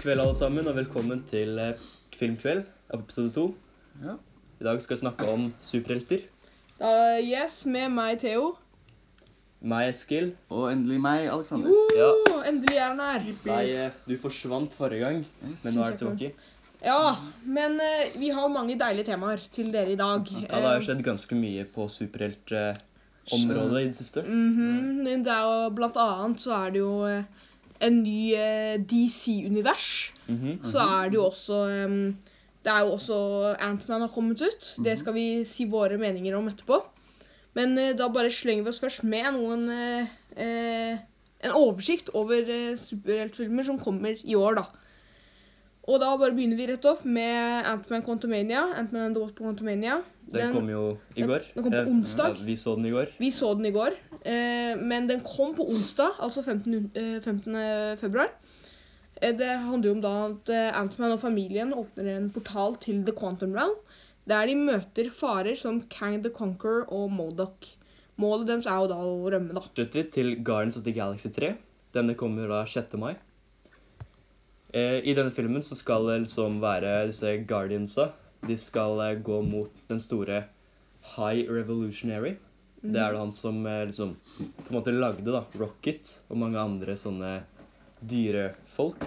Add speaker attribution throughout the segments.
Speaker 1: kveld, alle sammen, og velkommen til eh, Filmkveld av episode to.
Speaker 2: Ja.
Speaker 1: I dag skal vi snakke om superhelter.
Speaker 3: Uh, yes, med meg, Theo.
Speaker 1: Meg, Eskil.
Speaker 2: Og endelig meg, Alexander.
Speaker 1: Ja.
Speaker 3: Uh, endelig er han her.
Speaker 1: Nei, eh, du forsvant forrige gang, men nå er du tilbake.
Speaker 3: Ja, men eh, vi har mange deilige temaer til dere i dag.
Speaker 1: Ja, det har jo skjedd ganske mye på superheltområdet i det siste.
Speaker 3: Mhm, men det er jo, blant annet så er det jo eh, en ny eh, DC-univers.
Speaker 1: Mhm.
Speaker 3: Så er det jo også em, Det er jo også Antman har kommet ut.
Speaker 1: Mhm.
Speaker 3: Det skal vi si våre meninger om etterpå. Men eh, da bare slenger vi oss først med noen eh, eh, En oversikt over eh, superheltfilmer som kommer i år, da. Og da bare begynner vi rett opp med Antman Quantumania. Ant-Man and the Wasp Quantumania.
Speaker 1: Den kom jo i
Speaker 3: den-
Speaker 1: går.
Speaker 3: den kom på
Speaker 1: Eh,
Speaker 3: onsdag.
Speaker 1: Ja, vi så den i går.
Speaker 3: Vi så den i går, eh, men den kom på onsdag, altså 15, eh, 15. februar. Eh, det handler jo om da at eh, Ant-Man og familien åpner en portal til The Quantum Realm, der de møter farer som Kang the Conqueror og Modok. Målet deres er jo da å rømme, da.
Speaker 1: Fortsetter vi til Guardians of the Galaxy 3. Denne kommer da 6. mai. Eh, I denne filmen så skal det liksom være disse Guardiansa. De skal eh, gå mot den store High Revolutionary. Det er da han som eh, liksom på en måte lagde da Rocket og mange andre sånne dyrefolk.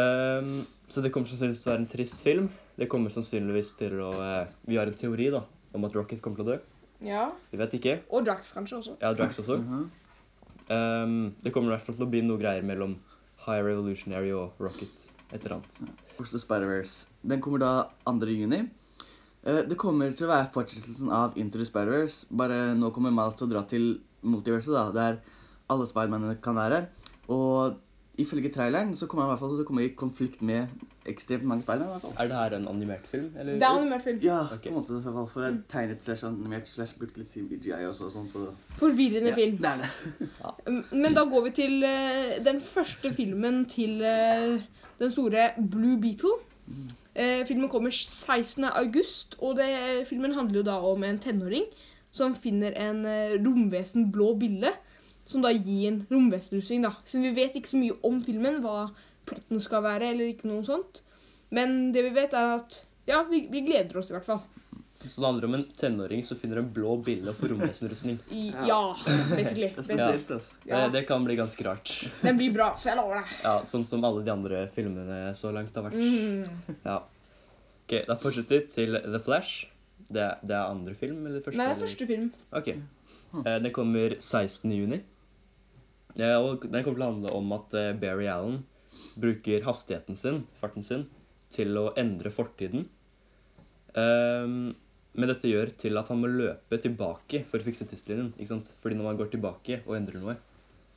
Speaker 1: Ehm, så det kommer sannsynligvis til å være en trist film. Det kommer sannsynligvis til å eh, Vi har en teori da om at Rocket kommer til å dø.
Speaker 3: Ja.
Speaker 1: Vi vet ikke.
Speaker 3: Mm. Og Drax kanskje også.
Speaker 1: Ja, Drax også.
Speaker 2: Mhm.
Speaker 1: Ehm, det kommer i hvert fall til å bli noe greier mellom High Revolutionary og Rocket. Et eller annet.
Speaker 2: Oslo Spider-Verse. Den kommer da 2. juni. Eh, Det kommer til å være fortsettelsen av Into the Spider-Verse. Bare nå kommer Miles til å dra til multiverset, da, der alle Spider-Manene kan være. Og ifølge traileren så kommer han i hvert fall til å komme i konflikt med ekstremt mange Spider-Man. i hvert fall.
Speaker 1: Er det her en animert film? Eller?
Speaker 3: Det er animert film.
Speaker 2: Ja,
Speaker 1: Ok.
Speaker 2: på en måte i hvert fall, for det er tegnet slash animert slash brukt litt CBGI også, og sånn, så
Speaker 3: Forvirrende
Speaker 2: ja,
Speaker 3: film.
Speaker 2: Det er det.
Speaker 3: Men da går vi til eh, den første filmen til eh, den store Blue Beetle. Eh, filmen kommer 16. august, og det, filmen handler jo da om en tenåring som finner en eh, romvesenblå bille, som da gir en romvesenrustning, da. Så vi vet ikke så mye om filmen, hva plotten skal være, eller ikke noe sånt. Men det vi vet, er at ja, vi, vi gleder oss i hvert fall.
Speaker 1: Så det handler om en tenåring som finner en blå bille og får romvesenrustning.
Speaker 3: I,
Speaker 2: Ja.
Speaker 3: ja, basically.
Speaker 2: Det er
Speaker 3: basically.
Speaker 2: spesielt, altså.
Speaker 3: Ja.
Speaker 1: Det, det kan bli ganske rart.
Speaker 3: Den blir bra, så jeg lover deg.
Speaker 1: Ja, Sånn som alle de andre filmene så langt har vært.
Speaker 3: Mm.
Speaker 1: Ja. Ok, Da fortsetter vi til The Flash. Det, er- det er andre film? eller første?
Speaker 3: Nei, det er første film.
Speaker 1: Ok. Eh, Den kommer 16. juni. Eh, Og den kommer til å handle om at eh, Barry Allen bruker hastigheten sin, farten sin, til å endre fortiden. Ehm, men dette gjør til at han må løpe tilbake for å fikse tidslinjen. ikke sant? Fordi når man går tilbake og endrer noe,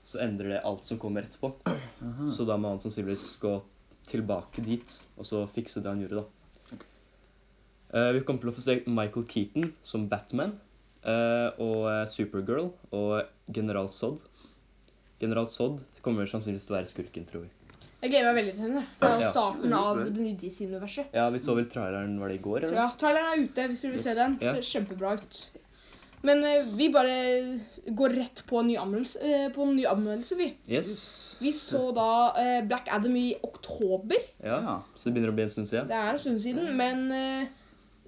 Speaker 1: så endrer det alt som kommer etterpå. Så da må han sannsynligvis gå tilbake dit og så fikse det han gjorde, da. Eh, vi kommer til å få se Michael Keaton som Batman. Eh, og eh, Supergirl og General Zod. General Zod kommer sannsynligvis til å være skurken, tror vi.
Speaker 3: Jeg gleder meg veldig til henne. Det er jo
Speaker 1: Ja.
Speaker 3: starten av
Speaker 2: Veldig bra.
Speaker 3: det nye DC-universet.
Speaker 1: Ja, Vi så vel traileren var det i går?
Speaker 3: Så
Speaker 1: eller?
Speaker 3: ja, traileren er ute, hvis dere vil se
Speaker 1: Yes.
Speaker 3: den.
Speaker 1: Ja.
Speaker 3: Ser kjempebra ut. Men eh, vi bare går rett på en ny anmeldelse, eh, på en ny anmeldelse vi.
Speaker 1: Yes.
Speaker 3: Vi så da eh, Black Adam i oktober.
Speaker 1: Ja. Så det begynner å bli en stund siden.
Speaker 3: Det er en stund siden, men eh,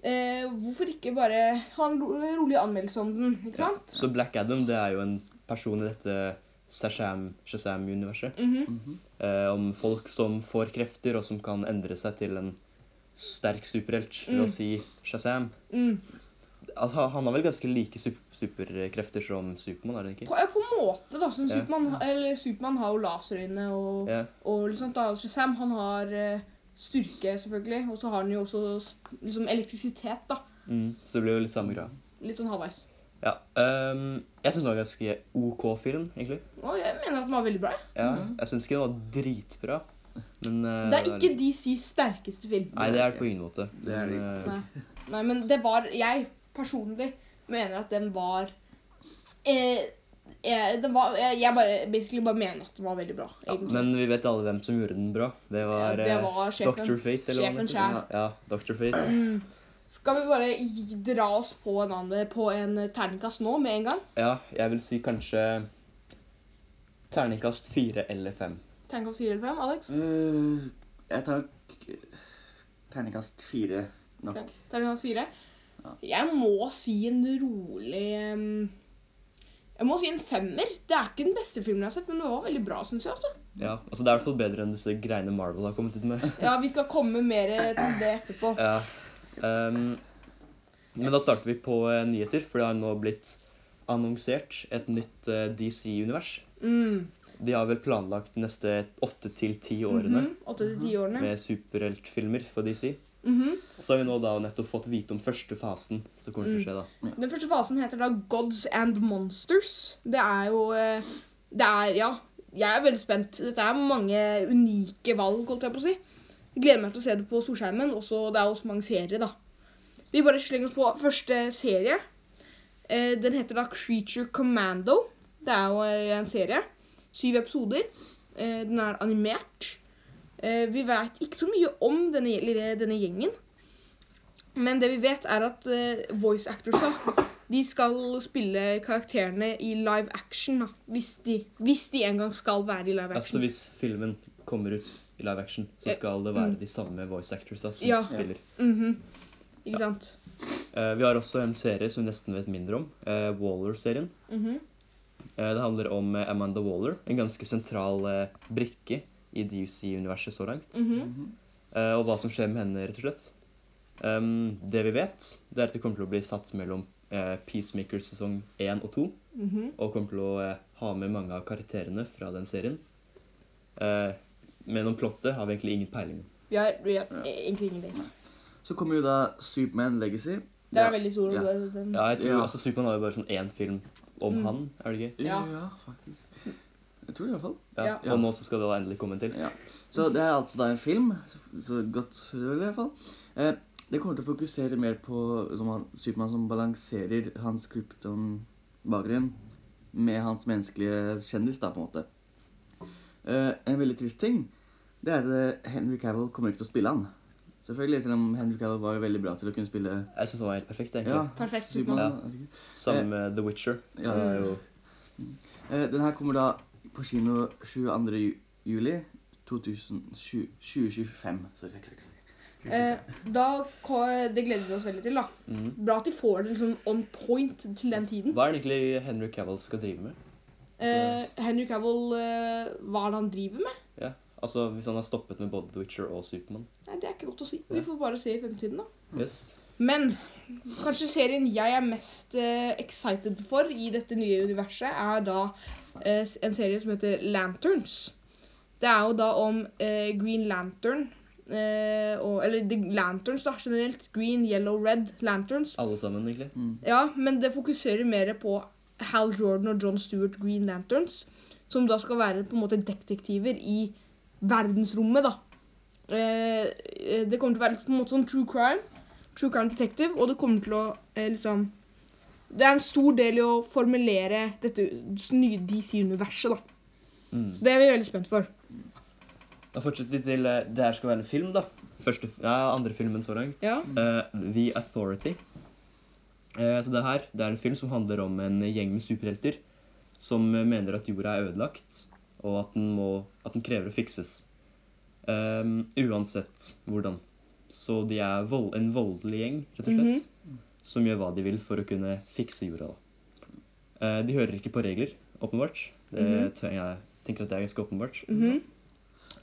Speaker 3: eh, hvorfor ikke bare ha en ro- rolig anmeldelse om den, ikke
Speaker 1: Ja.
Speaker 3: sant?
Speaker 1: Så Black Adam det er jo en person i dette Shazam- Shazam-universet.
Speaker 3: Mhm.
Speaker 1: Eh, om folk som får krefter, og som kan endre seg til en sterk superhelt. La oss si Shazam.
Speaker 3: mm.
Speaker 1: At han han har vel ganske like sup superkrefter som Supermann, er det ikke?
Speaker 3: På, eh, på en måte, da. Som
Speaker 1: Ja.
Speaker 3: Supermann, eller Supermann har jo laserøyne og
Speaker 1: Ja.
Speaker 3: Og liksom da, så Sam han har eh, styrke, selvfølgelig, og så har han jo også s- liksom elektrisitet. da.
Speaker 1: Mm. Så det blir jo litt samme greia.
Speaker 3: Litt sånn halvveis.
Speaker 1: Ja. ehm, jeg syns det var en ganske OK film, egentlig.
Speaker 3: Og jeg mener at den var veldig bra. jeg.
Speaker 1: Ja, Jeg syns ikke den var dritbra, men eh,
Speaker 3: Mm. Det er ikke DCs sterkeste film.
Speaker 1: Nei, det er det på ingen måte.
Speaker 2: Det er det
Speaker 1: Men, eh,
Speaker 3: Nei. Nei, men det var Jeg personlig mener at den var eh, eh, den var, eh, jeg bare, basically bare mener at den var veldig bra.
Speaker 1: ja,
Speaker 3: egentlig.
Speaker 1: men vi vet alle hvem som gjorde den bra. Det var,
Speaker 3: Ja, det
Speaker 1: eh,
Speaker 3: var sjefen.
Speaker 1: Dr. Fate. Eller
Speaker 3: Sjefen
Speaker 1: hva han
Speaker 3: sjæl.
Speaker 1: heter. Ja, Dr. Fate.
Speaker 3: Mm. Skal vi bare gi- dra oss på en, annen, på en eh, terningkast nå med en gang?
Speaker 1: Ja, jeg vil si kanskje terningkast fire eller fem.
Speaker 3: Terningkast 4 eller 5, Alex?
Speaker 2: Øh, jeg tar nok terningkast fire nok.
Speaker 3: Terningkast 4.
Speaker 2: Ja.
Speaker 3: Jeg må si en rolig ehm, Jeg må si en femmer. Det er ikke den beste filmen jeg har sett, men den var veldig bra, syns jeg. altså.
Speaker 1: Ja, altså Det er i hvert fall bedre enn disse greiene Marvel har kommet ut med.
Speaker 3: Ja, Vi skal komme mer til det etterpå.
Speaker 1: Ja. Ehm, men da starter vi på eh, nyheter, for det har nå blitt annonsert et nytt DC-univers.
Speaker 3: Mm.
Speaker 1: De har vel planlagt de neste åtte til ti årene
Speaker 3: Mhm, Åtte til ti årene.
Speaker 1: med superheltfilmer for DC.
Speaker 3: Mhm.
Speaker 1: Så har vi nå da nettopp fått vite om første fasen som kommer til å skje, da.
Speaker 3: Den første fasen heter da Gods and Monsters. Det er jo eh, Det er Ja, jeg er veldig spent. Dette er mange unike valg, holdt jeg på å si. Jeg gleder meg til å se det på storskjermen. Også, det er også mange serier, da. Vi bare slenger oss på første serie. Eh, Den heter da Creature Commando. Det er jo eh, en serie. Syv episoder. Eh, Den er animert. Eh, Vi veit ikke så mye om denne, lille- denne gjengen. Men det vi vet, er at eh, voice actorsa de skal spille karakterene i live action. da, Hvis de, hvis de engang skal være i live
Speaker 1: Altså
Speaker 3: action.
Speaker 1: Hvis filmen kommer ut i live action, så skal det være de samme voice actorsa som
Speaker 3: Mm. Ja.
Speaker 1: spiller.
Speaker 3: Mhm. Ikke sant?
Speaker 1: Eh, vi har også en serie som vi nesten vet mindre om, eh, Waller-serien.
Speaker 3: Mhm.
Speaker 1: Eh, det handler om eh, Amanda Waller, en ganske sentral eh, brikke i DUC-universet så langt.
Speaker 3: mhm.
Speaker 1: Eh, og hva som skjer med henne, rett og slett. Ehm, det vi vet, det er at det kommer til å bli satt mellom eh, Peacemaker sesong 1 og 2.
Speaker 3: Mhm.
Speaker 1: og kommer til å eh, ha med mange av karakterene fra den serien. Eh, men om plottet har vi egentlig ingen peiling.
Speaker 3: Vi har, vi har egentlig ingenting.
Speaker 2: Så kommer jo da Superman Legacy.
Speaker 3: Det er veldig stor.
Speaker 2: Ja.
Speaker 3: det- Den.
Speaker 1: Ja, jeg tror,
Speaker 2: Ja.
Speaker 1: altså Supermann har jo bare sånn én film om
Speaker 3: Mm.
Speaker 1: han, er det ikke?
Speaker 2: Ja,
Speaker 3: Ja.
Speaker 2: ja, faktisk. Jeg tror det i hvert fall.
Speaker 1: Ja.
Speaker 3: Ja.
Speaker 1: Og nå så skal det da endelig komme en til.
Speaker 2: Ja. Så det er altså da en film, så, så godt selvfølgelig i hvert fall. Eh, det kommer til å fokusere mer på som han, Supermann som balanserer hans krypton-bakgrunn med hans menneskelige kjendis, da, på en måte. Eh, en veldig trist ting, det er at eh, Henry Cavill kommer ikke til å spille han. Selvfølgelig, selv om Henry Cavill var jo veldig bra til å kunne spille
Speaker 1: Jeg syns han var helt perfekt.
Speaker 2: ja,
Speaker 1: egentlig.
Speaker 3: Perfekt
Speaker 1: Superman.
Speaker 2: Superman. er det ikke?
Speaker 1: Sammen med The Witcher.
Speaker 2: Ja.
Speaker 1: Det er jo
Speaker 2: Eh, den her kommer da på kino 22. ju- juli 2020, 2025. Sorry, jeg klarer ikke å si.
Speaker 3: Eh, da, ko- det gleder vi oss veldig til. da.
Speaker 1: Mhm.
Speaker 3: Bra at de får det liksom on point til den tiden.
Speaker 1: Hva er det egentlig Henry Cavill skal drive med?
Speaker 3: Eh, Henry Cavill, eh, hva er det han driver med?
Speaker 1: Ja. Altså, Hvis han har stoppet med både The Witcher og Supermann.
Speaker 3: Nei, Det er ikke godt å si. Vi får bare se i fremtiden, da.
Speaker 1: Yes.
Speaker 3: Men kanskje serien jeg er mest eh, excited for i dette nye universet, er da eh, s- en serie som heter Lanterns. Det er jo da om eh, Green Lantern eh, og, Eller The Lanterns, da, generelt. Green, yellow, red lanterns.
Speaker 1: Alle sammen, egentlig.
Speaker 2: Mm.
Speaker 3: Ja, men det fokuserer mer på Hal Jordan og John Stewart Green Lanterns, som da skal være på en måte detektiver i verdensrommet, da. Eh, eh, det kommer til å være på en måte sånn true crime, true crime detective, og det kommer til å eh, liksom Det er en stor del i å formulere dette nye DC-universet, da.
Speaker 1: Mm.
Speaker 3: Så det er vi veldig spent for.
Speaker 1: Da fortsetter vi til eh, Det her skal være en film, da. Første, ja, andre filmen så langt.
Speaker 3: Ja.
Speaker 1: Eh, The Authority. Eh, så det her det er en film som handler om en gjeng med superhelter som eh, mener at jorda er ødelagt, og at den, må, at den krever å fikses. Ehm, uansett hvordan. Så de er vold, en voldelig gjeng, rett og slett,
Speaker 3: Mhm.
Speaker 1: som gjør hva de vil for å kunne fikse jorda. Da. Eh, de hører ikke på regler, åpenbart. Det,
Speaker 3: Mhm.
Speaker 1: tror jeg- Jeg tenker at det er ganske åpenbart.
Speaker 3: Mhm.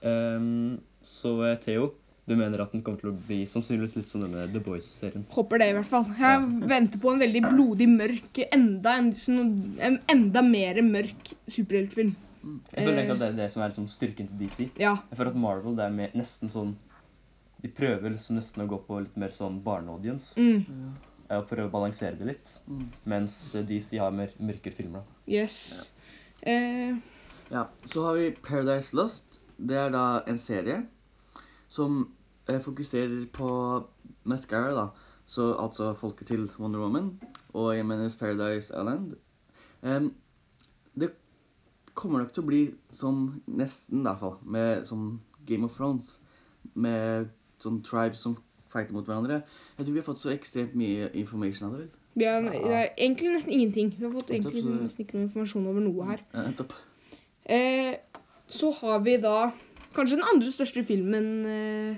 Speaker 1: Ehm, så eh, Theo, du mener at den kommer til å bli sannsynligvis litt som denne The Boys-serien.
Speaker 3: Håper det, i hvert fall. Jeg venter på en veldig blodig mørk, enda en, sånn- en enda mer mørk superheltfilm.
Speaker 1: Jeg føler
Speaker 3: Eh.
Speaker 1: egentlig at det er det som er liksom styrken til DC.
Speaker 3: Ja.
Speaker 1: Jeg føler at Marvel det er mer, nesten sånn De prøver liksom nesten å gå på litt mer sånn barneaudience
Speaker 3: Mm.
Speaker 1: eh, og prøve å balansere det litt.
Speaker 2: Mm.
Speaker 1: Mens eh, DC har mer mørkere filmer. da.
Speaker 3: Yes. Eh,
Speaker 2: Ja, så har vi Paradise Lost. Det er da en serie som eh, fokuserer på mascara, da. Så altså folket til Wonder Woman og jeg mener Paradise Island. Em, det kommer nok til å bli som nesten, i hvert fall, med som Game of Thrones. Med sånn tribes som fighter mot hverandre. Jeg tror vi har fått så ekstremt mye information av det. vel?
Speaker 3: vi har, det er egentlig nesten ingenting. Vi har fått
Speaker 2: Eh,
Speaker 3: egentlig
Speaker 2: Nettopp, så-
Speaker 3: nesten ikke noe informasjon over noe her.
Speaker 2: Ja, nettopp.
Speaker 3: Eh, Så har vi da kanskje den andre største filmen eh,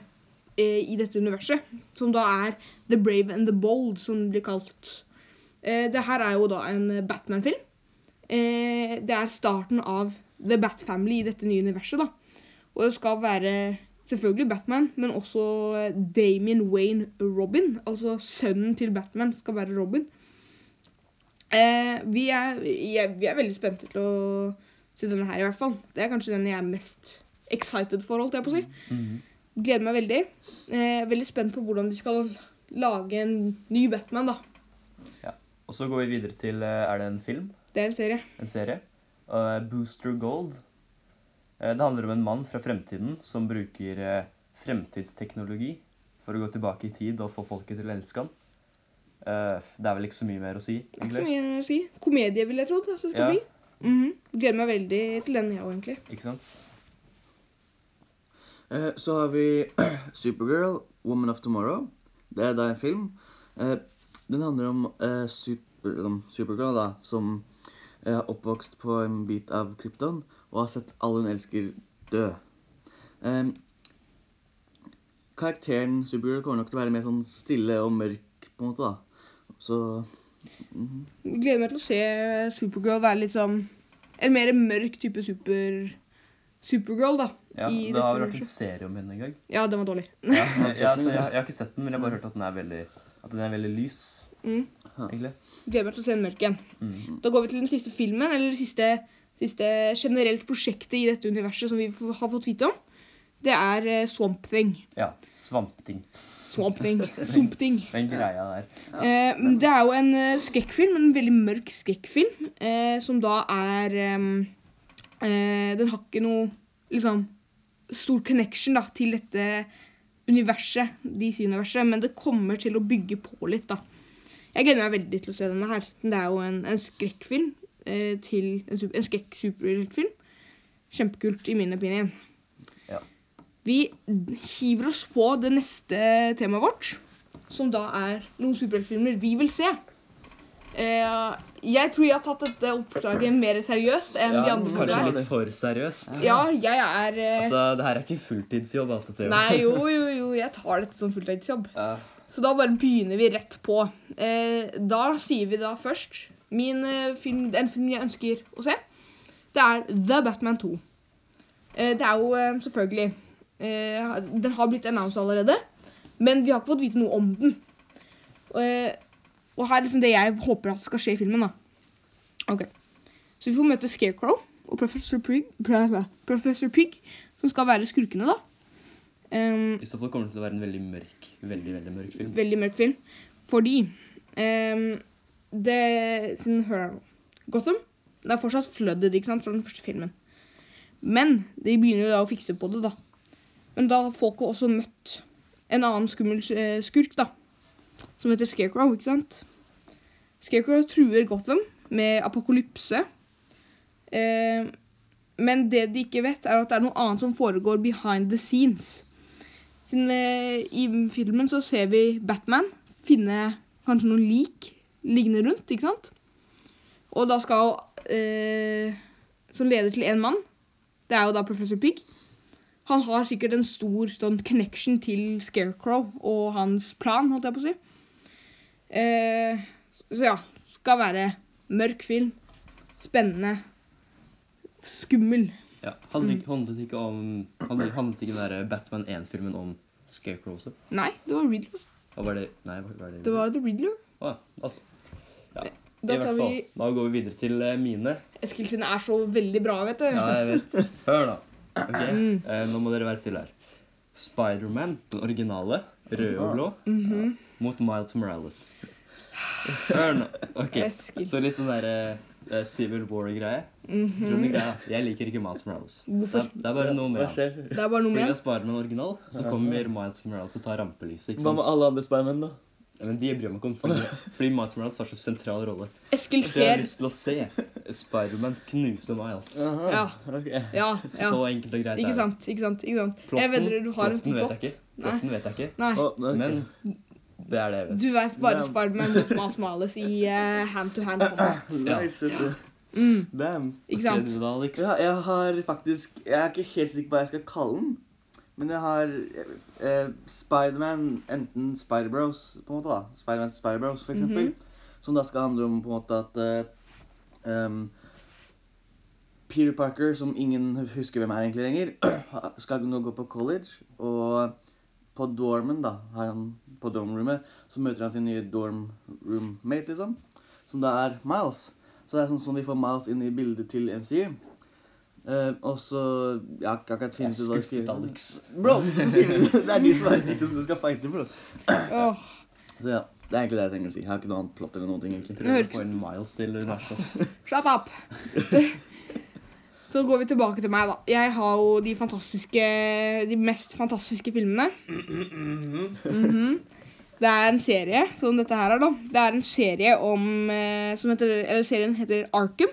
Speaker 3: eh, i dette universet, som da er The Brave and the Bold, som den blir kalt. Eh, det her er jo da en eh, Batman-film. Eh, det er starten av The Bat Family i dette nye universet, da. Og det skal være selvfølgelig Batman, men også eh, Damian Wayne Robin, altså sønnen til Batman, skal være Robin. Eh, vi, er, jeg, vi er veldig spente til å se denne her, i hvert fall. Det er kanskje den jeg er mest excited for, holdt jeg på å si.
Speaker 1: Mhm.
Speaker 3: Gleder meg veldig. Eh, veldig spent på hvordan de skal lage en ny Batman, da.
Speaker 1: Og så går vi videre til eh, Er det en film?
Speaker 3: Det er en serie.
Speaker 1: en serie. eh, Booster Gold. Eh, det handler om en mann fra fremtiden som bruker eh, fremtidsteknologi for å gå tilbake i tid og få folket til å elske ham. Eh, det er vel ikke så mye mer å si,
Speaker 3: Det er ikke så
Speaker 1: egentlig.
Speaker 3: mye å si. Komedie, vil jeg tro. Det skal
Speaker 1: Ja.
Speaker 3: bli. Mhm. Gleder meg veldig til den, jeg òg, egentlig.
Speaker 1: Ikke sant?
Speaker 2: Eh, Så har vi Supergirl, Woman of Tomorrow. Det er da en film. Eh, Den handler om eh, super, om Supergirl, da, som eh, er oppvokst på en bit av Krypton og har sett alle hun elsker dø. Eh, Karakteren Supergirl kommer nok til å være mer sånn stille og mørk, på en måte, da. Så
Speaker 3: Gleder meg til å se Supergirl være litt sånn En mer mørk type super, Supergirl, da.
Speaker 1: Ja,
Speaker 3: i
Speaker 1: det har
Speaker 3: dette
Speaker 1: vel vært en
Speaker 3: universet.
Speaker 1: serie om henne en gang.
Speaker 3: Ja, den var dårlig.
Speaker 1: Ja, jeg,
Speaker 2: har ikke sett
Speaker 1: så
Speaker 2: den,
Speaker 1: jeg,
Speaker 2: ja.
Speaker 1: jeg har ikke sett den, men jeg har bare hørt at den er veldig, at den er veldig lys.
Speaker 3: Mm.
Speaker 1: egentlig.
Speaker 3: Gleder meg til å se den mørke igjen.
Speaker 1: Mm.
Speaker 3: Da går vi til den siste filmen, eller det siste, siste generelt prosjektet i dette universet som vi f- har fått vite om. Det er eh, Swamp Thing.
Speaker 1: Ja, Svampting.
Speaker 3: Swamp Thing. Swamp Thing.
Speaker 1: Den greia der.
Speaker 3: Eh, det er jo en eh, skrekkfilm, en veldig mørk skrekkfilm, eh, som da er em, eh, Den har ikke noe liksom stor connection da, til dette universet, DC-universet, men det kommer til å bygge på litt, da. Jeg gleder meg veldig til å se denne her. Det er jo en, en skrekkfilm eh, til en, super, en skrekk-superheltfilm. Kjempekult, i min opinion.
Speaker 1: Ja.
Speaker 3: Vi hiver oss på det neste temaet vårt som da er noen superheltfilmer vi vil se. Eh, jeg tror jeg har tatt dette oppdraget mer seriøst enn de
Speaker 1: Ja,
Speaker 3: andre.
Speaker 1: kanskje
Speaker 2: der.
Speaker 3: gjorde.
Speaker 1: litt for seriøst.
Speaker 3: Ja, jeg er eh,
Speaker 1: Altså, det her er ikke fulltidsjobb, altså. Theo.
Speaker 3: Nei, jo, jo, jo, jeg tar dette som fulltidsjobb.
Speaker 1: Ja.
Speaker 3: Så da bare begynner vi rett på. Eh, da sier vi da først min, eh, film, En film jeg ønsker å se, det er The Batman 2. Eh, det er jo eh, selvfølgelig eh, Den har blitt annonsa allerede, men vi har ikke fått vite noe om den. Eh, og her er liksom det jeg håper at skal skje i filmen. da. Ok. Så vi får møte Scarecrow og Professor Pig, Professor Pig som skal være skurkene, da. Um,
Speaker 1: I så fall kommer det til å være en veldig mørk, veldig, veldig mørk film.
Speaker 3: Veldig mørk film. Fordi ehm, det, siden, Hør her nå. Gotham det er fortsatt flooded ikke sant, fra den første filmen. Men de begynner jo da å fikse på det, da. Men da har folk også møtt en annen skummel eh, skurk, da. Som heter Scarecrow, ikke sant? Scarecrow truer Gotham med apokalypse. Eh, men det de ikke vet, er at det er noe annet som foregår behind the scenes. Siden eh, I filmen så ser vi Batman finne kanskje noen lik liggende rundt, ikke sant? Og da skal eh, Som leder til én mann, det er jo da professor Pig. Han har sikkert en stor sånn connection til Scarecrow og hans plan, holdt jeg på å si. Eh, så ja. Skal være mørk film. Spennende. Skummel.
Speaker 1: Ja, handlet,
Speaker 3: Mm.
Speaker 1: ikke- handlet ikke om handlet, handlet ikke den der Batman 1-filmen om Scarecrow også?
Speaker 3: Nei, det var Riddler.
Speaker 1: Og var det Nei, hva var det?
Speaker 3: Det var The Riddler.
Speaker 1: Å, ja, altså. Ja,
Speaker 3: Da
Speaker 1: I
Speaker 3: tar
Speaker 1: hvert fall.
Speaker 3: vi
Speaker 1: Da går vi videre til eh, mine.
Speaker 3: Eskil sine er så veldig bra, vet du.
Speaker 1: Ja, jeg vet. Hør, da. Ok,
Speaker 3: Mm.
Speaker 1: eh, Nå må dere være stille her. Spiderman, den originale, rød og blå,
Speaker 3: Mhm.
Speaker 1: mot Miles Morales. Hør nå. Ok,
Speaker 3: Eskil.
Speaker 1: Så litt sånn derre eh, Civil War-greie.
Speaker 3: Mm.
Speaker 1: Skjønner greia. Jeg liker ikke Miles Morales. Det
Speaker 3: Mhm. Hvorfor?
Speaker 1: er, det er bare noe med
Speaker 4: Hva
Speaker 1: han.
Speaker 4: skjer?
Speaker 3: Det er bare noe
Speaker 1: Fordi
Speaker 3: med
Speaker 1: det er Spiderman original, og så kommer Miles Morales og tar rampelyset. ikke
Speaker 4: Hva med
Speaker 1: sant?
Speaker 4: alle andre Spiderman, da?
Speaker 1: Ja, men de bryr meg ikke om, fordi, fordi Miles Morales har så sentral rolle.
Speaker 3: Eskil
Speaker 1: Så jeg har
Speaker 3: ser
Speaker 1: lyst til å se Spiderman knuse Miles.
Speaker 4: Aha,
Speaker 3: Ja.
Speaker 4: ok.
Speaker 3: Ja, ja.
Speaker 1: Så enkelt og greit
Speaker 3: Ikke
Speaker 1: er det.
Speaker 3: sant, ikke sant. ikke sant. Jeg
Speaker 1: Plotten-
Speaker 3: vedder du har
Speaker 1: plotten
Speaker 3: en stor
Speaker 1: vet jeg
Speaker 3: plott.
Speaker 1: ikke. Plotten vet jeg ikke.
Speaker 3: Nei.
Speaker 4: Å, ok.
Speaker 1: Men det er det jeg vet.
Speaker 3: Du vet bare
Speaker 4: Ja.
Speaker 3: Spiderman mot Miles Morales i eh, hand to hand.
Speaker 4: Nice, vet du.
Speaker 3: Mm,
Speaker 2: Damn.
Speaker 3: ikke sant?
Speaker 1: Ok, du da, Alex?
Speaker 2: Ja, jeg har faktisk Jeg er ikke helt sikker på hva jeg skal kalle den. Men jeg har eh, Spiderman, enten Spider-Bros, på en måte, da. Spiderman Spider-Bros, for eksempel. Som da skal handle om på en måte at eh, em, Peter Parker, som ingen husker hvem er egentlig lenger, skal nå gå på college. Og på dormen, da, har han på dormrommet, så møter han sin nye dorm-roommate, liksom. Som da er Miles. Så det er sånn som vi får Miles inn i bildet til MCU. Eh, og så Jeg har ikke akkurat
Speaker 1: Jeg er
Speaker 2: funnet ut hva jeg
Speaker 1: skuffet,
Speaker 2: skriver.
Speaker 1: Alex.
Speaker 2: Bro, så sier vi det. Det er de som er de to som skal fighte, bro.
Speaker 3: Åh,
Speaker 2: Så ja, det er egentlig det jeg tenker å si. Jeg har ikke noe annet plott eller noen ting, egentlig.
Speaker 1: Prøver å få inn Miles til universet. ass.
Speaker 3: shut up! Så går vi tilbake til meg, da. Jeg har jo de fantastiske De mest fantastiske filmene. Mhm. Det er en serie som dette her er, da. Det er en serie om eh, som heter, eller Serien heter Arkham.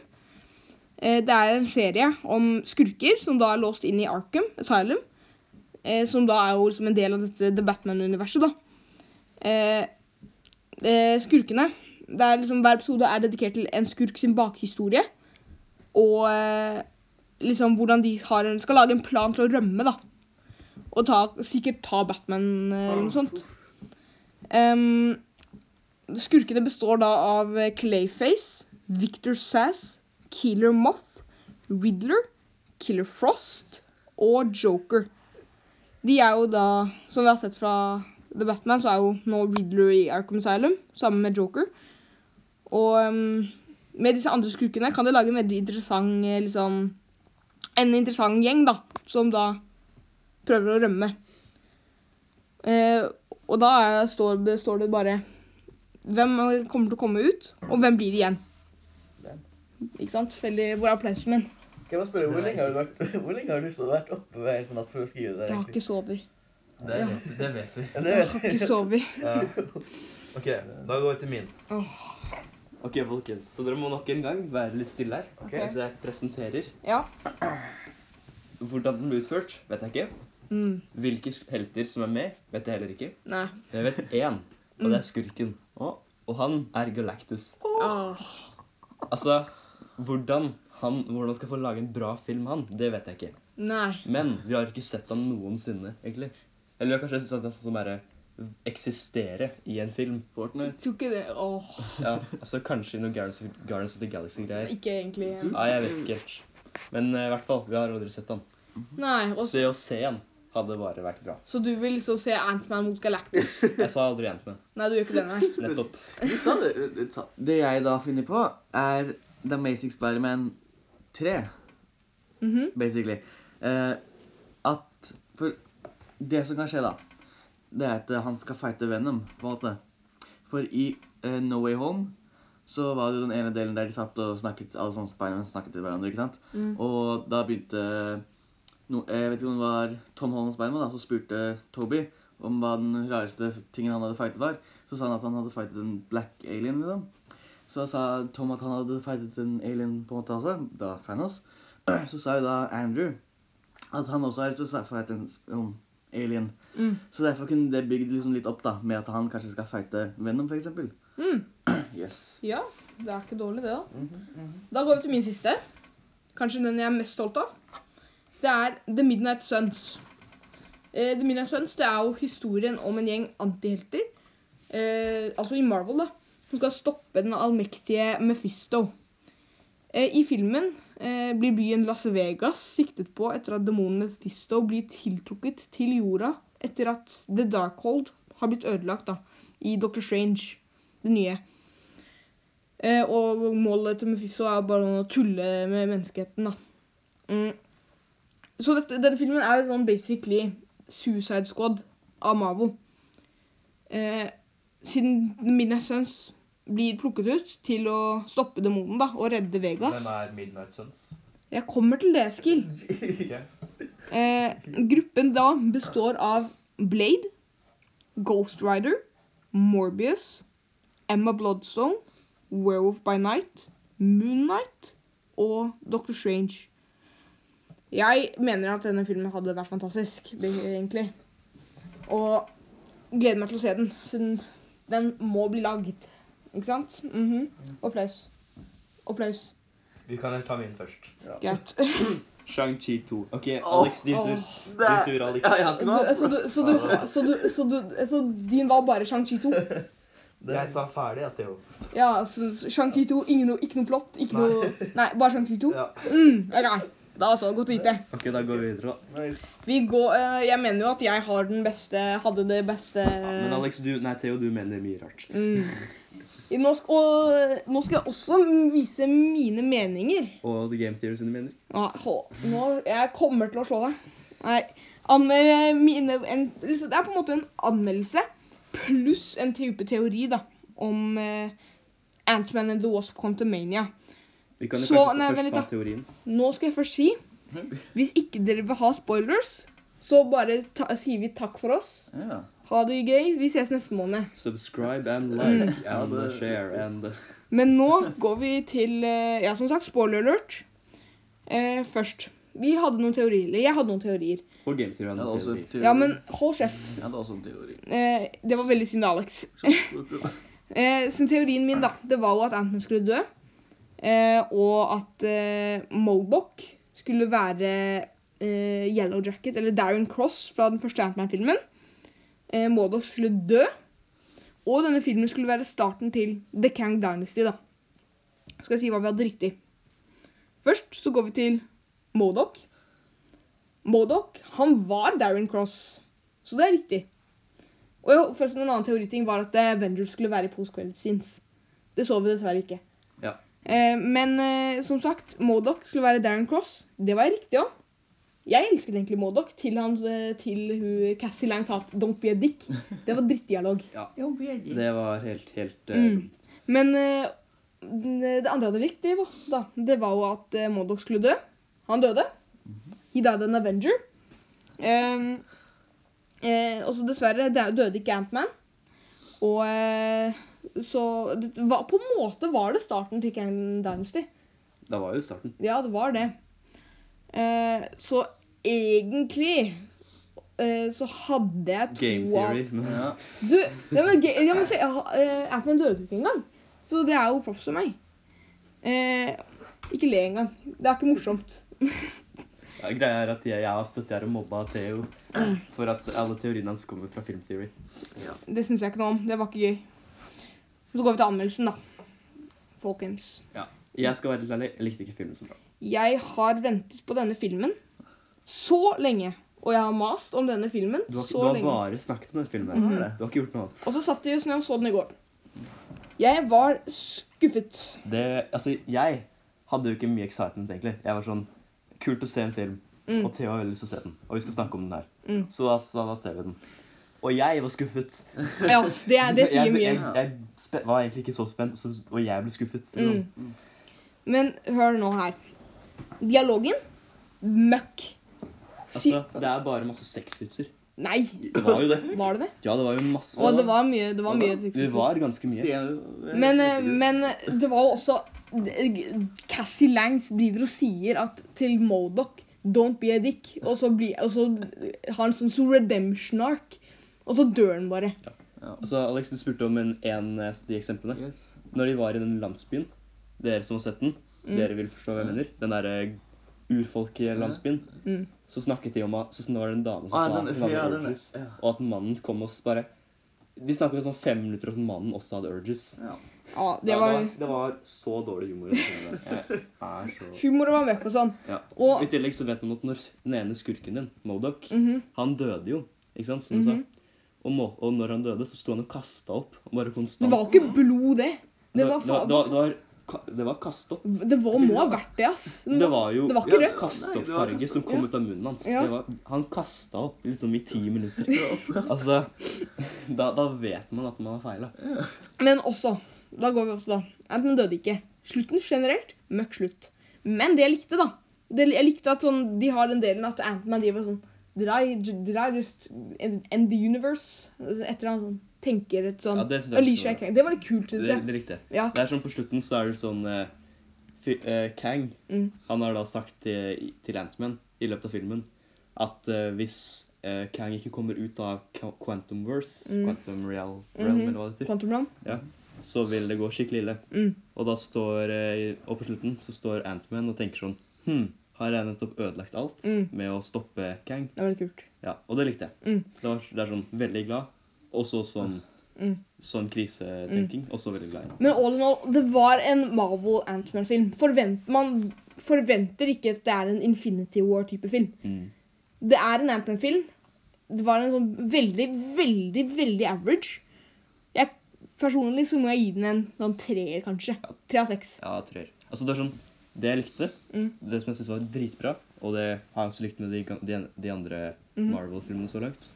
Speaker 3: Eh, Det er en serie om skurker som da er låst inn i Arkham Asylum. eh, Som da er jo liksom en del av dette The Batman-universet, da. Eh, eh, skurkene. Det er liksom, hver episode er dedikert til en skurk sin bakhistorie. Og eh, liksom hvordan de har en, skal lage en plan til å rømme, da. Og ta, sikkert ta Batman eh, eller noe sånt. Em, skurkene består da av eh, Clayface, Victor Sass, Killer Moth, Riddler, Killer Frost og Joker. De er jo da, som vi har sett fra The Batman, så er jo nå Riddler i Arkham Asylum sammen med Joker. Og um, med disse andre skurkene kan de lage en veldig interessant eh, liksom, En interessant gjeng, da, som da prøver å rømme. Eh, og da er, står, det, står det bare Hvem kommer til å komme ut, og hvem blir igjen? Ikke sant? Veldig, hvor er applausen min?
Speaker 2: Kan jeg bare spørre,
Speaker 1: hvor lenge har du
Speaker 2: hvor lenge har du så vært oppe hver eneste natt for å skrive det
Speaker 3: Jeg har ikke sovet.
Speaker 1: Det vet, det vet vi.
Speaker 3: Jeg har ikke sovet.
Speaker 1: Ja. Ok, da går vi til min.
Speaker 3: Åh.
Speaker 1: Ok, folkens, så dere må nok en gang være litt stille her.
Speaker 3: Ok.
Speaker 1: Mens jeg presenterer.
Speaker 3: Ja.
Speaker 1: Hvordan den ble utført, vet jeg ikke.
Speaker 3: Mm.
Speaker 1: Hvilke helter som er med, vet jeg heller ikke.
Speaker 3: Nei.
Speaker 1: Men jeg vet én, og
Speaker 3: Mm.
Speaker 1: det er skurken.
Speaker 2: Å.
Speaker 1: Og han er Galactus.
Speaker 3: Åh.
Speaker 1: Altså, hvordan han hvordan skal få lage en bra film, han, det vet jeg ikke.
Speaker 3: Nei.
Speaker 1: Men vi har ikke sett han noensinne, egentlig. Eller vi har kanskje sett han sånn som bare eksistere i en film.
Speaker 2: Fortnite.
Speaker 3: Tror ikke det Åh.
Speaker 1: Ja, altså Kanskje i noen Guardians of, Guardians of the Galaxy-greier.
Speaker 3: Ikke egentlig.
Speaker 2: Tror-
Speaker 1: Nei, jeg vet ikke helt. Men eh, i hvert fall, vi har aldri sett han.
Speaker 3: Nei. Og
Speaker 1: Så det å se han hadde bare vært bra.
Speaker 3: Så du vil liksom se Ant-Man mot Galactus?
Speaker 1: Jeg sa aldri Ant-Man.
Speaker 3: Nei, du gjør ikke det, nei.
Speaker 1: Nettopp.
Speaker 2: Du sa det. du sa- Det jeg da har funnet på, er The Amazing Spider-Man 3,
Speaker 3: Mhm.
Speaker 2: basically. Eh, at For det som kan skje, da, det er at eh, han skal fighte Venom, på en måte. For i eh, No Way Home så var det jo den ene delen der de satt og snakket alle sånne Spider-Man snakket til hverandre, ikke sant?
Speaker 3: Mm.
Speaker 2: Og da begynte no, Jeg vet ikke om det var Tom Holland Spiderman, da, som spurte Toby om hva den rareste tingen han hadde fightet, var. Så sa han at han hadde fightet en black alien. liksom. Så sa Tom at han hadde fightet en alien på en måte også, da Thanos. Så sa jo da Andrew at han også har lyst til å fighte en um, alien.
Speaker 3: Mm.
Speaker 2: Så derfor kunne det bygd liksom litt opp da, med at han kanskje skal fighte Venom, for eksempel.
Speaker 3: Mm.
Speaker 2: Yes.
Speaker 3: Ja, det er ikke dårlig, det, da. Da går vi til min siste. Kanskje den jeg er mest stolt av. Det er The Midnight Suns. Eh, The Midnight Suns det er jo historien om en gjeng antihelter, eh, altså i Marvel, da, som skal stoppe den allmektige Mephisto. Eh, I filmen eh, blir byen Las Vegas siktet på etter at demonen Mephisto blir tiltrukket til jorda etter at The Darkhold har blitt ødelagt da, i Doctor Strange, det nye. Eh, og målet til Mephisto er bare å tulle med menneskeheten, da. Mm. Så dette, denne filmen er jo sånn basically Suicide Squad av Marvel. Eh, siden Midnight Suns blir plukket ut til å stoppe demonen da, og redde Vegas.
Speaker 1: er Midnight Sons?
Speaker 3: Jeg kommer til det, Eskil. Eh, gruppen da består av Blade, Ghost Rider, Morbius, Emma Bloodstone, Werewolf by Night, Moon Knight og Doctor Strange. Jeg mener at denne filmen hadde vært fantastisk, det- egentlig. Og gleder meg til å se den, siden den må bli lagd. Ikke sant? Mhm. Applaus. Applaus.
Speaker 1: Vi kan ta min først.
Speaker 3: Greit.
Speaker 1: Shang-Chi 2. OK, Alex, din tur.
Speaker 3: Åh.
Speaker 1: Din tur, Alex.
Speaker 2: Ja, jeg har ikke noe
Speaker 3: Så, du, så, du, så, du, så, du, så din var bare Shang-Chi 2?
Speaker 1: Jeg sa ferdig, ja, Theo.
Speaker 3: Ja, så Shang-Chi 2, ingen noe, ikke noe plott? Ikke
Speaker 1: Nei.
Speaker 3: noe Nei, bare Shang-Chi 2?
Speaker 1: Ja.
Speaker 3: Mm, ok. Da så, godt å vite.
Speaker 1: OK, da går vi videre, da.
Speaker 2: Nice.
Speaker 3: Vi går, eh, jeg mener jo at jeg har den beste, hadde det beste
Speaker 1: Men Alex, du Nei, Theo, du mener mye rart.
Speaker 3: mm. I- nå, sk og, nå skal jeg også vise mine meninger.
Speaker 1: Og The Game Theory sine mener.
Speaker 3: Ah, hå- Nå, jeg kommer til å slå deg. Nei, anmel, mine, en, liksom, det er på en måte en anmeldelse pluss en type teori da, om eh, Ant-Man and the Wasp kom til Mania.
Speaker 1: Vi kan jo
Speaker 3: Så,
Speaker 1: først,
Speaker 3: nei, vent
Speaker 1: først ta
Speaker 3: litt,
Speaker 1: teorien.
Speaker 3: Nå skal jeg først si, hvis ikke dere vil ha spoilers, så bare ta, sier vi takk for oss.
Speaker 2: Ja.
Speaker 3: Ha det gøy, vi ses neste måned.
Speaker 1: Subscribe and like
Speaker 3: Mm.
Speaker 2: Ja,
Speaker 1: and
Speaker 2: det-
Speaker 1: share and
Speaker 3: Men nå går vi til eh, Ja, som sagt, spoiler alert. Eh, først. Vi hadde noen teorier. Eller jeg hadde noen teorier.
Speaker 1: Og Game Theory.
Speaker 2: Jeg
Speaker 1: and
Speaker 2: hadde også
Speaker 1: teori.
Speaker 2: teori.
Speaker 3: Ja, men hold kjeft.
Speaker 2: Jeg hadde også en teori.
Speaker 3: Eh, det var veldig synd, Alex. Eh, så teorien min, da, det var jo at Antman skulle dø. Eh, og at eh, Mobok skulle være eh, Yellow Jacket, eller Darren Cross fra den første Antman-filmen. Eh, Mobok skulle dø. Og denne filmen skulle være starten til The Kang Dynasty, da. Skal jeg si hva vi hadde riktig. Først så går vi til Modok. Modok, han var Darren Cross. Så det er riktig. Og jo, forresten En annen teoriting var at eh, Avengers skulle være i post-credit scenes. Det så vi dessverre ikke.
Speaker 1: Ja.
Speaker 3: Eh, men eh, som sagt, Modok skulle være Darren Cross. Det var riktig òg. Jeg elsket egentlig Modok til, han, eh, til hun Cassie Lang sa at 'don't be a dick'. Det var drittdialog.
Speaker 1: Det var helt, helt eh,
Speaker 3: Mm. Men eh, det andre jeg hadde likt, det var, da, det var jo at eh, Modok skulle dø. Han døde. He died an Avenger. Um, eh, og så dessverre dø- døde ikke Ant-Man. Og eh, så det var, På en måte var det starten til Kang Dynasty.
Speaker 1: Det var jo starten.
Speaker 3: Ja, det var det. Eh, så egentlig eh, så hadde jeg to
Speaker 1: Game
Speaker 3: av-
Speaker 1: Theory. Men
Speaker 2: Ja.
Speaker 3: du, ja, men, ge- ja, men se, jeg har- eh, Ant-Man døde jo ikke engang. Så det er jo props for meg. Eh, ikke le engang. Det er ikke morsomt.
Speaker 1: ja, greia er at jeg, jeg har støtt her og mobba Theo
Speaker 3: Mm.
Speaker 1: for at alle teoriene hans kommer fra Film Theory.
Speaker 3: Det syns jeg ikke noe om. Det var ikke gøy. Så går vi til anmeldelsen, da. Folkens.
Speaker 1: Jeg skal være litt ærlig, jeg likte ikke filmen så bra.
Speaker 3: Jeg har ventet på denne filmen så lenge. Og jeg har mast om denne filmen
Speaker 1: Du har, ikke-
Speaker 3: så
Speaker 1: du har
Speaker 3: lenge. Mm.
Speaker 1: bare snakket om den filmen.
Speaker 2: Mhm.
Speaker 1: her. Du har ikke gjort noe annet.
Speaker 3: Og så satt jeg og så den i går. Jeg var skuffet.
Speaker 1: Det, altså, jeg hadde jo ikke mye excitement, egentlig. Jeg var sånn Kult å se en film.
Speaker 3: Mm.
Speaker 1: Og Theo har veldig lyst til å se den. Og vi skal snakke om den her.
Speaker 3: Mm.
Speaker 1: Så da, så da ser vi den. Og jeg var skuffet.
Speaker 3: Ja, det, er- det sier
Speaker 1: jeg,
Speaker 3: mye.
Speaker 1: Jeg, jeg, spe- var egentlig ikke så spent, og så- og jeg ble skuffet.
Speaker 3: Mm. Men hør nå her. Dialogen møkk. Si-
Speaker 1: Altså, det er bare masse sexvitser.
Speaker 3: Nei,
Speaker 1: Det var jo det.
Speaker 3: var det det?
Speaker 1: Ja, det var jo masse.
Speaker 3: Og det var mye. Det var mye
Speaker 1: Vi var ganske mye.
Speaker 2: Sier-
Speaker 3: Men, eh, men det var jo også eh, Cassie Langs driver og sier at til Modok Don't be a dick. Og så, blir- og så har han sånn så redemption ark. Og så dør han bare.
Speaker 1: Altså, Alex, du spurte om en, en av de eksemplene.
Speaker 2: Yes.
Speaker 1: Når de var i den landsbyen, dere som har sett den,
Speaker 3: Mm.
Speaker 1: dere vil forstå hva jeg mener, den eh, derre urfolkelandsbyen,
Speaker 3: Mm.
Speaker 1: så snakket de om at så var det en dame som
Speaker 2: Ah,
Speaker 1: sa
Speaker 2: den-
Speaker 1: at hun hadde
Speaker 2: ja, den-
Speaker 1: urges,
Speaker 2: ja.
Speaker 1: og at mannen kom og s- bare De snakket om sånn fem minutter om at mannen også hadde urges.
Speaker 2: Ja.
Speaker 3: Ja, det
Speaker 1: Ja,
Speaker 3: var
Speaker 1: det var så dårlig humor. i den filmen der.
Speaker 2: Ah,
Speaker 1: Jeg er så-
Speaker 3: Humor var møkk og sånn.
Speaker 1: Ja.
Speaker 3: Og-
Speaker 1: I tillegg så vet man at når den ene skurken din, Modok,
Speaker 3: Mhm.
Speaker 1: han døde jo, ikke sant, som du
Speaker 3: Mhm.
Speaker 1: sa. Og, må, og når han døde, så sto han og kasta opp. og Bare konstant.
Speaker 3: Det var ikke blod, det. Det var,
Speaker 1: det var, det var,
Speaker 3: fa-
Speaker 1: det var, ka- det var kasta opp.
Speaker 3: det var må ha vært det, ass.
Speaker 1: Det var jo
Speaker 3: det var ikke
Speaker 2: Ja, Nei,
Speaker 3: rødt.
Speaker 2: det
Speaker 1: kastoppfarge
Speaker 2: var
Speaker 1: som kom
Speaker 3: ja.
Speaker 1: ut av munnen hans.
Speaker 3: Ja.
Speaker 1: Det var, han kasta opp liksom i ti minutter. Altså, da, da vet man at man har feila.
Speaker 3: Men også, da går vi også da. Ant-Man døde ikke. Slutten generelt, møkk slutt. Men det jeg likte, da det, Jeg likte at sånn, de har den delen at Ant-Man driver sånn Did I, did I just end end the universe? Etter han sånn, tenker et sånn
Speaker 1: Ja, det synes jeg
Speaker 3: Alicia
Speaker 1: var-
Speaker 3: Kang. Det var litt kult,
Speaker 1: Det,
Speaker 3: syns jeg.
Speaker 1: det likte jeg.
Speaker 3: Ja.
Speaker 1: Det er sånn På slutten så er det sånn eh, fi- eh, Kang
Speaker 3: Mm.
Speaker 1: han har da sagt til, til Ant-Man i løpet av filmen at eh, hvis eh, Kang ikke kommer ut av Qu- Quantum Verse,
Speaker 3: Mm.
Speaker 1: Quantum Real Realm,
Speaker 3: Mhm.
Speaker 1: eller hva det heter,
Speaker 3: Quantum Realm.
Speaker 1: så vil det gå skikkelig ille.
Speaker 3: Mm.
Speaker 1: Og da står, eh, og på slutten så står Antman og tenker sånn Hm, har jeg nettopp ødelagt alt
Speaker 3: Mm.
Speaker 1: med å stoppe Kang?
Speaker 3: Det var litt kult.
Speaker 1: Ja, og det likte jeg.
Speaker 3: Mm.
Speaker 1: Det, var, det er sånn veldig glad, og så sånn,
Speaker 3: Mm.
Speaker 1: sånn krisetenking, og så veldig glad igjen.
Speaker 3: Men all in all, det var en Marvel Antman-film. Forvent, man forventer ikke at det er en Infinity War-type film.
Speaker 1: Mm.
Speaker 3: Det er en Antman-film. Det var en sånn veldig, veldig, veldig average. Jeg, personlig så må jeg gi den en sånn treer, kanskje. Tre av seks.
Speaker 1: Ja, treer. Altså, det er sånn Det jeg likte,
Speaker 3: Mm.
Speaker 1: det som jeg synes var dritbra, og det har jeg også likt med de, gan- de, an- de andre
Speaker 3: Mhm.
Speaker 1: Marvel-filmene så langt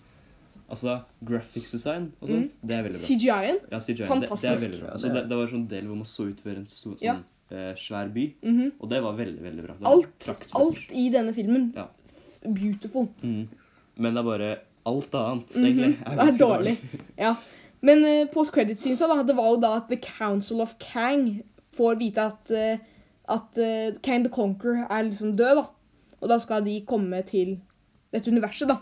Speaker 1: Altså, graphics design og sånt, det er veldig bra.
Speaker 3: CGI-en.
Speaker 1: Ja, CGI, Det, det er
Speaker 3: Mm. Fantastisk.
Speaker 1: veldig bra. Altså, det, det var sånn del hvor man så ut for en stor, sånn,
Speaker 3: Ja.
Speaker 1: eh, svær by,
Speaker 3: Mhm.
Speaker 1: og det var veldig, veldig bra. Det var
Speaker 3: Alt,
Speaker 1: praktfullt.
Speaker 3: alt i denne filmen.
Speaker 1: Ja.
Speaker 3: Beautiful.
Speaker 1: Mhm. Men det er bare alt annet,
Speaker 3: Mhm.
Speaker 1: egentlig.
Speaker 3: Det er
Speaker 1: ganske
Speaker 3: dårlig. Ja. Men uh, post-credit-synsa, da, det var jo da at The Council of Kang får vite at, eh, at eh, Kang the Conqueror er liksom død, da. Og da skal de komme til dette universet, da.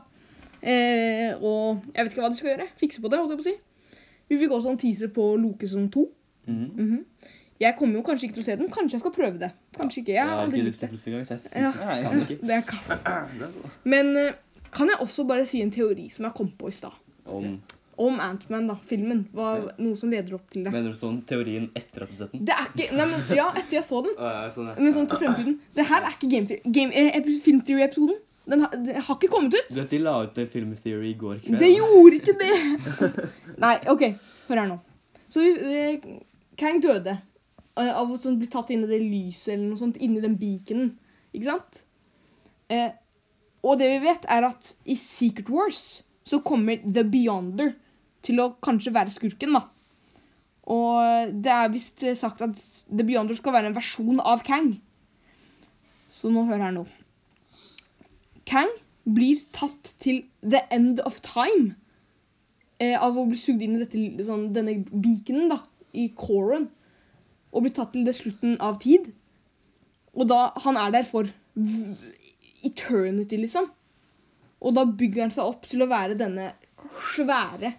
Speaker 3: Eh, og jeg vet ikke hva de skal gjøre. Fikse på det, holdt jeg på å si. Vi fikk også en teaser på Loke som 2.
Speaker 1: Mhm.
Speaker 3: Jeg kommer jo kanskje ikke til å se den. Kanskje jeg skal prøve det. Kanskje ikke. Jeg
Speaker 1: Jeg
Speaker 3: har
Speaker 1: har
Speaker 3: aldri
Speaker 1: ikke
Speaker 3: likt
Speaker 1: lyst
Speaker 3: det.
Speaker 1: til plutselig engang, så jeg
Speaker 3: Ja.
Speaker 1: fysisk kan ikke.
Speaker 3: Det er kaldt.
Speaker 2: Det er så-
Speaker 3: Men eh, kan jeg også bare si en teori som jeg kom på i stad?
Speaker 1: Om,
Speaker 3: Om Antman, da. Filmen. Var noe som leder opp til det.
Speaker 1: mener du sånn teorien etter at du har sett den?
Speaker 3: Det er ikke Nei, men ja, etter jeg så den.
Speaker 1: Uh, sånn, ja.
Speaker 3: Men sånn til fremtiden. Det her er ikke Game Theory. Game, eh, ep- film Theory-episoden. Den, har- den har ikke kommet ut.
Speaker 1: Du vet, de la ut det Film Theory i går kveld.
Speaker 3: Det gjorde ikke det! Nei, OK. Hør her nå. Så eh, Kang døde eh, av å sånn bli tatt inn i det lyset eller noe sånt, inni den beaconen. Ikke sant? Eh, og det vi vet, er at i Secret Wars så kommer The Beyonder til å kanskje være skurken, da. Og det er visst sagt at The Beyonder skal være en versjon av Kang. Så nå hør her nå. Kang blir tatt til the end of time eh, av å bli sugd inn i dette, sånn, denne beaconen, da, i coren. Og blir tatt til det slutten av tid. Og da Han er der for v- eternity, liksom. Og da bygger han seg opp til å være denne svære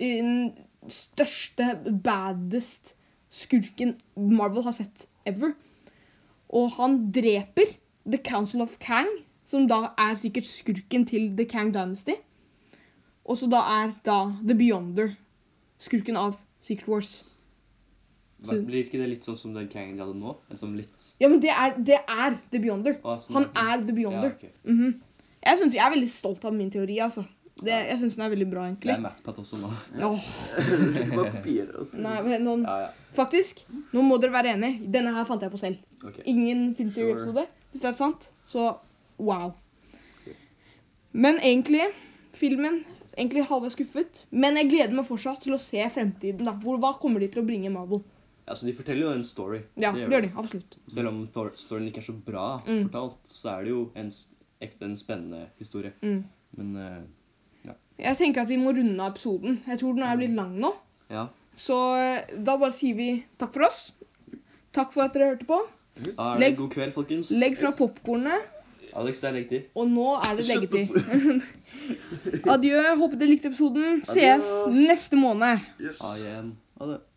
Speaker 3: eh, Største, baddest skurken Marvel har sett ever. Og han dreper The Council of Kang, som da er sikkert skurken til The Kang Dynasty. Og så da er da The Beyonder skurken av Secret Wars.
Speaker 1: Men Blir ikke det litt sånn som den Kangen de hadde nå? En sånn litt...
Speaker 3: Ja, men det er, det er The Beyonder.
Speaker 1: Ah, sånn-
Speaker 3: Han er The Beyonder.
Speaker 1: Ja, ok.
Speaker 3: Mhm. jeg, synes, jeg er veldig stolt av min teori, altså. Det, jeg syns den er veldig bra,
Speaker 1: Det er
Speaker 3: egentlig.
Speaker 1: Mattpat også nå.
Speaker 3: Mm. Åh,
Speaker 2: Du bare kopierer oss.
Speaker 3: nei, men noen,
Speaker 1: Ja, ja.
Speaker 3: faktisk, nå må dere være enige. Denne her fant jeg på selv.
Speaker 1: Ok.
Speaker 3: Ingen filterepisode. Hvis det er sant, så wow. Men egentlig, filmen Egentlig halvveis skuffet. Men jeg gleder meg fortsatt til å se fremtiden. da. Hvor, hva kommer de til å bringe Marvel?
Speaker 1: Altså, de forteller jo en story.
Speaker 3: Ja, det gjør de. Absolutt.
Speaker 1: Selv om for- storyen ikke er så bra
Speaker 3: Mm.
Speaker 1: fortalt, så er det jo en, s- ekte en spennende historie.
Speaker 3: Mm.
Speaker 1: Men, eh,
Speaker 3: Jeg tenker at vi må runde av episoden. Jeg tror den er blitt lang nå.
Speaker 1: ja.
Speaker 3: Så eh, da bare sier vi takk for oss. Takk for at dere hørte på.
Speaker 2: Ah,
Speaker 1: Da er det
Speaker 3: Legg-
Speaker 1: god kveld, folkens.
Speaker 3: Legg fra popkornet,
Speaker 1: Alex, det er leggetid.
Speaker 3: og nå er det leggetid. Adjø. Håper dere likte episoden. Ses
Speaker 2: Adios.
Speaker 3: neste måned.
Speaker 2: Yes.
Speaker 1: I am
Speaker 2: Ha det.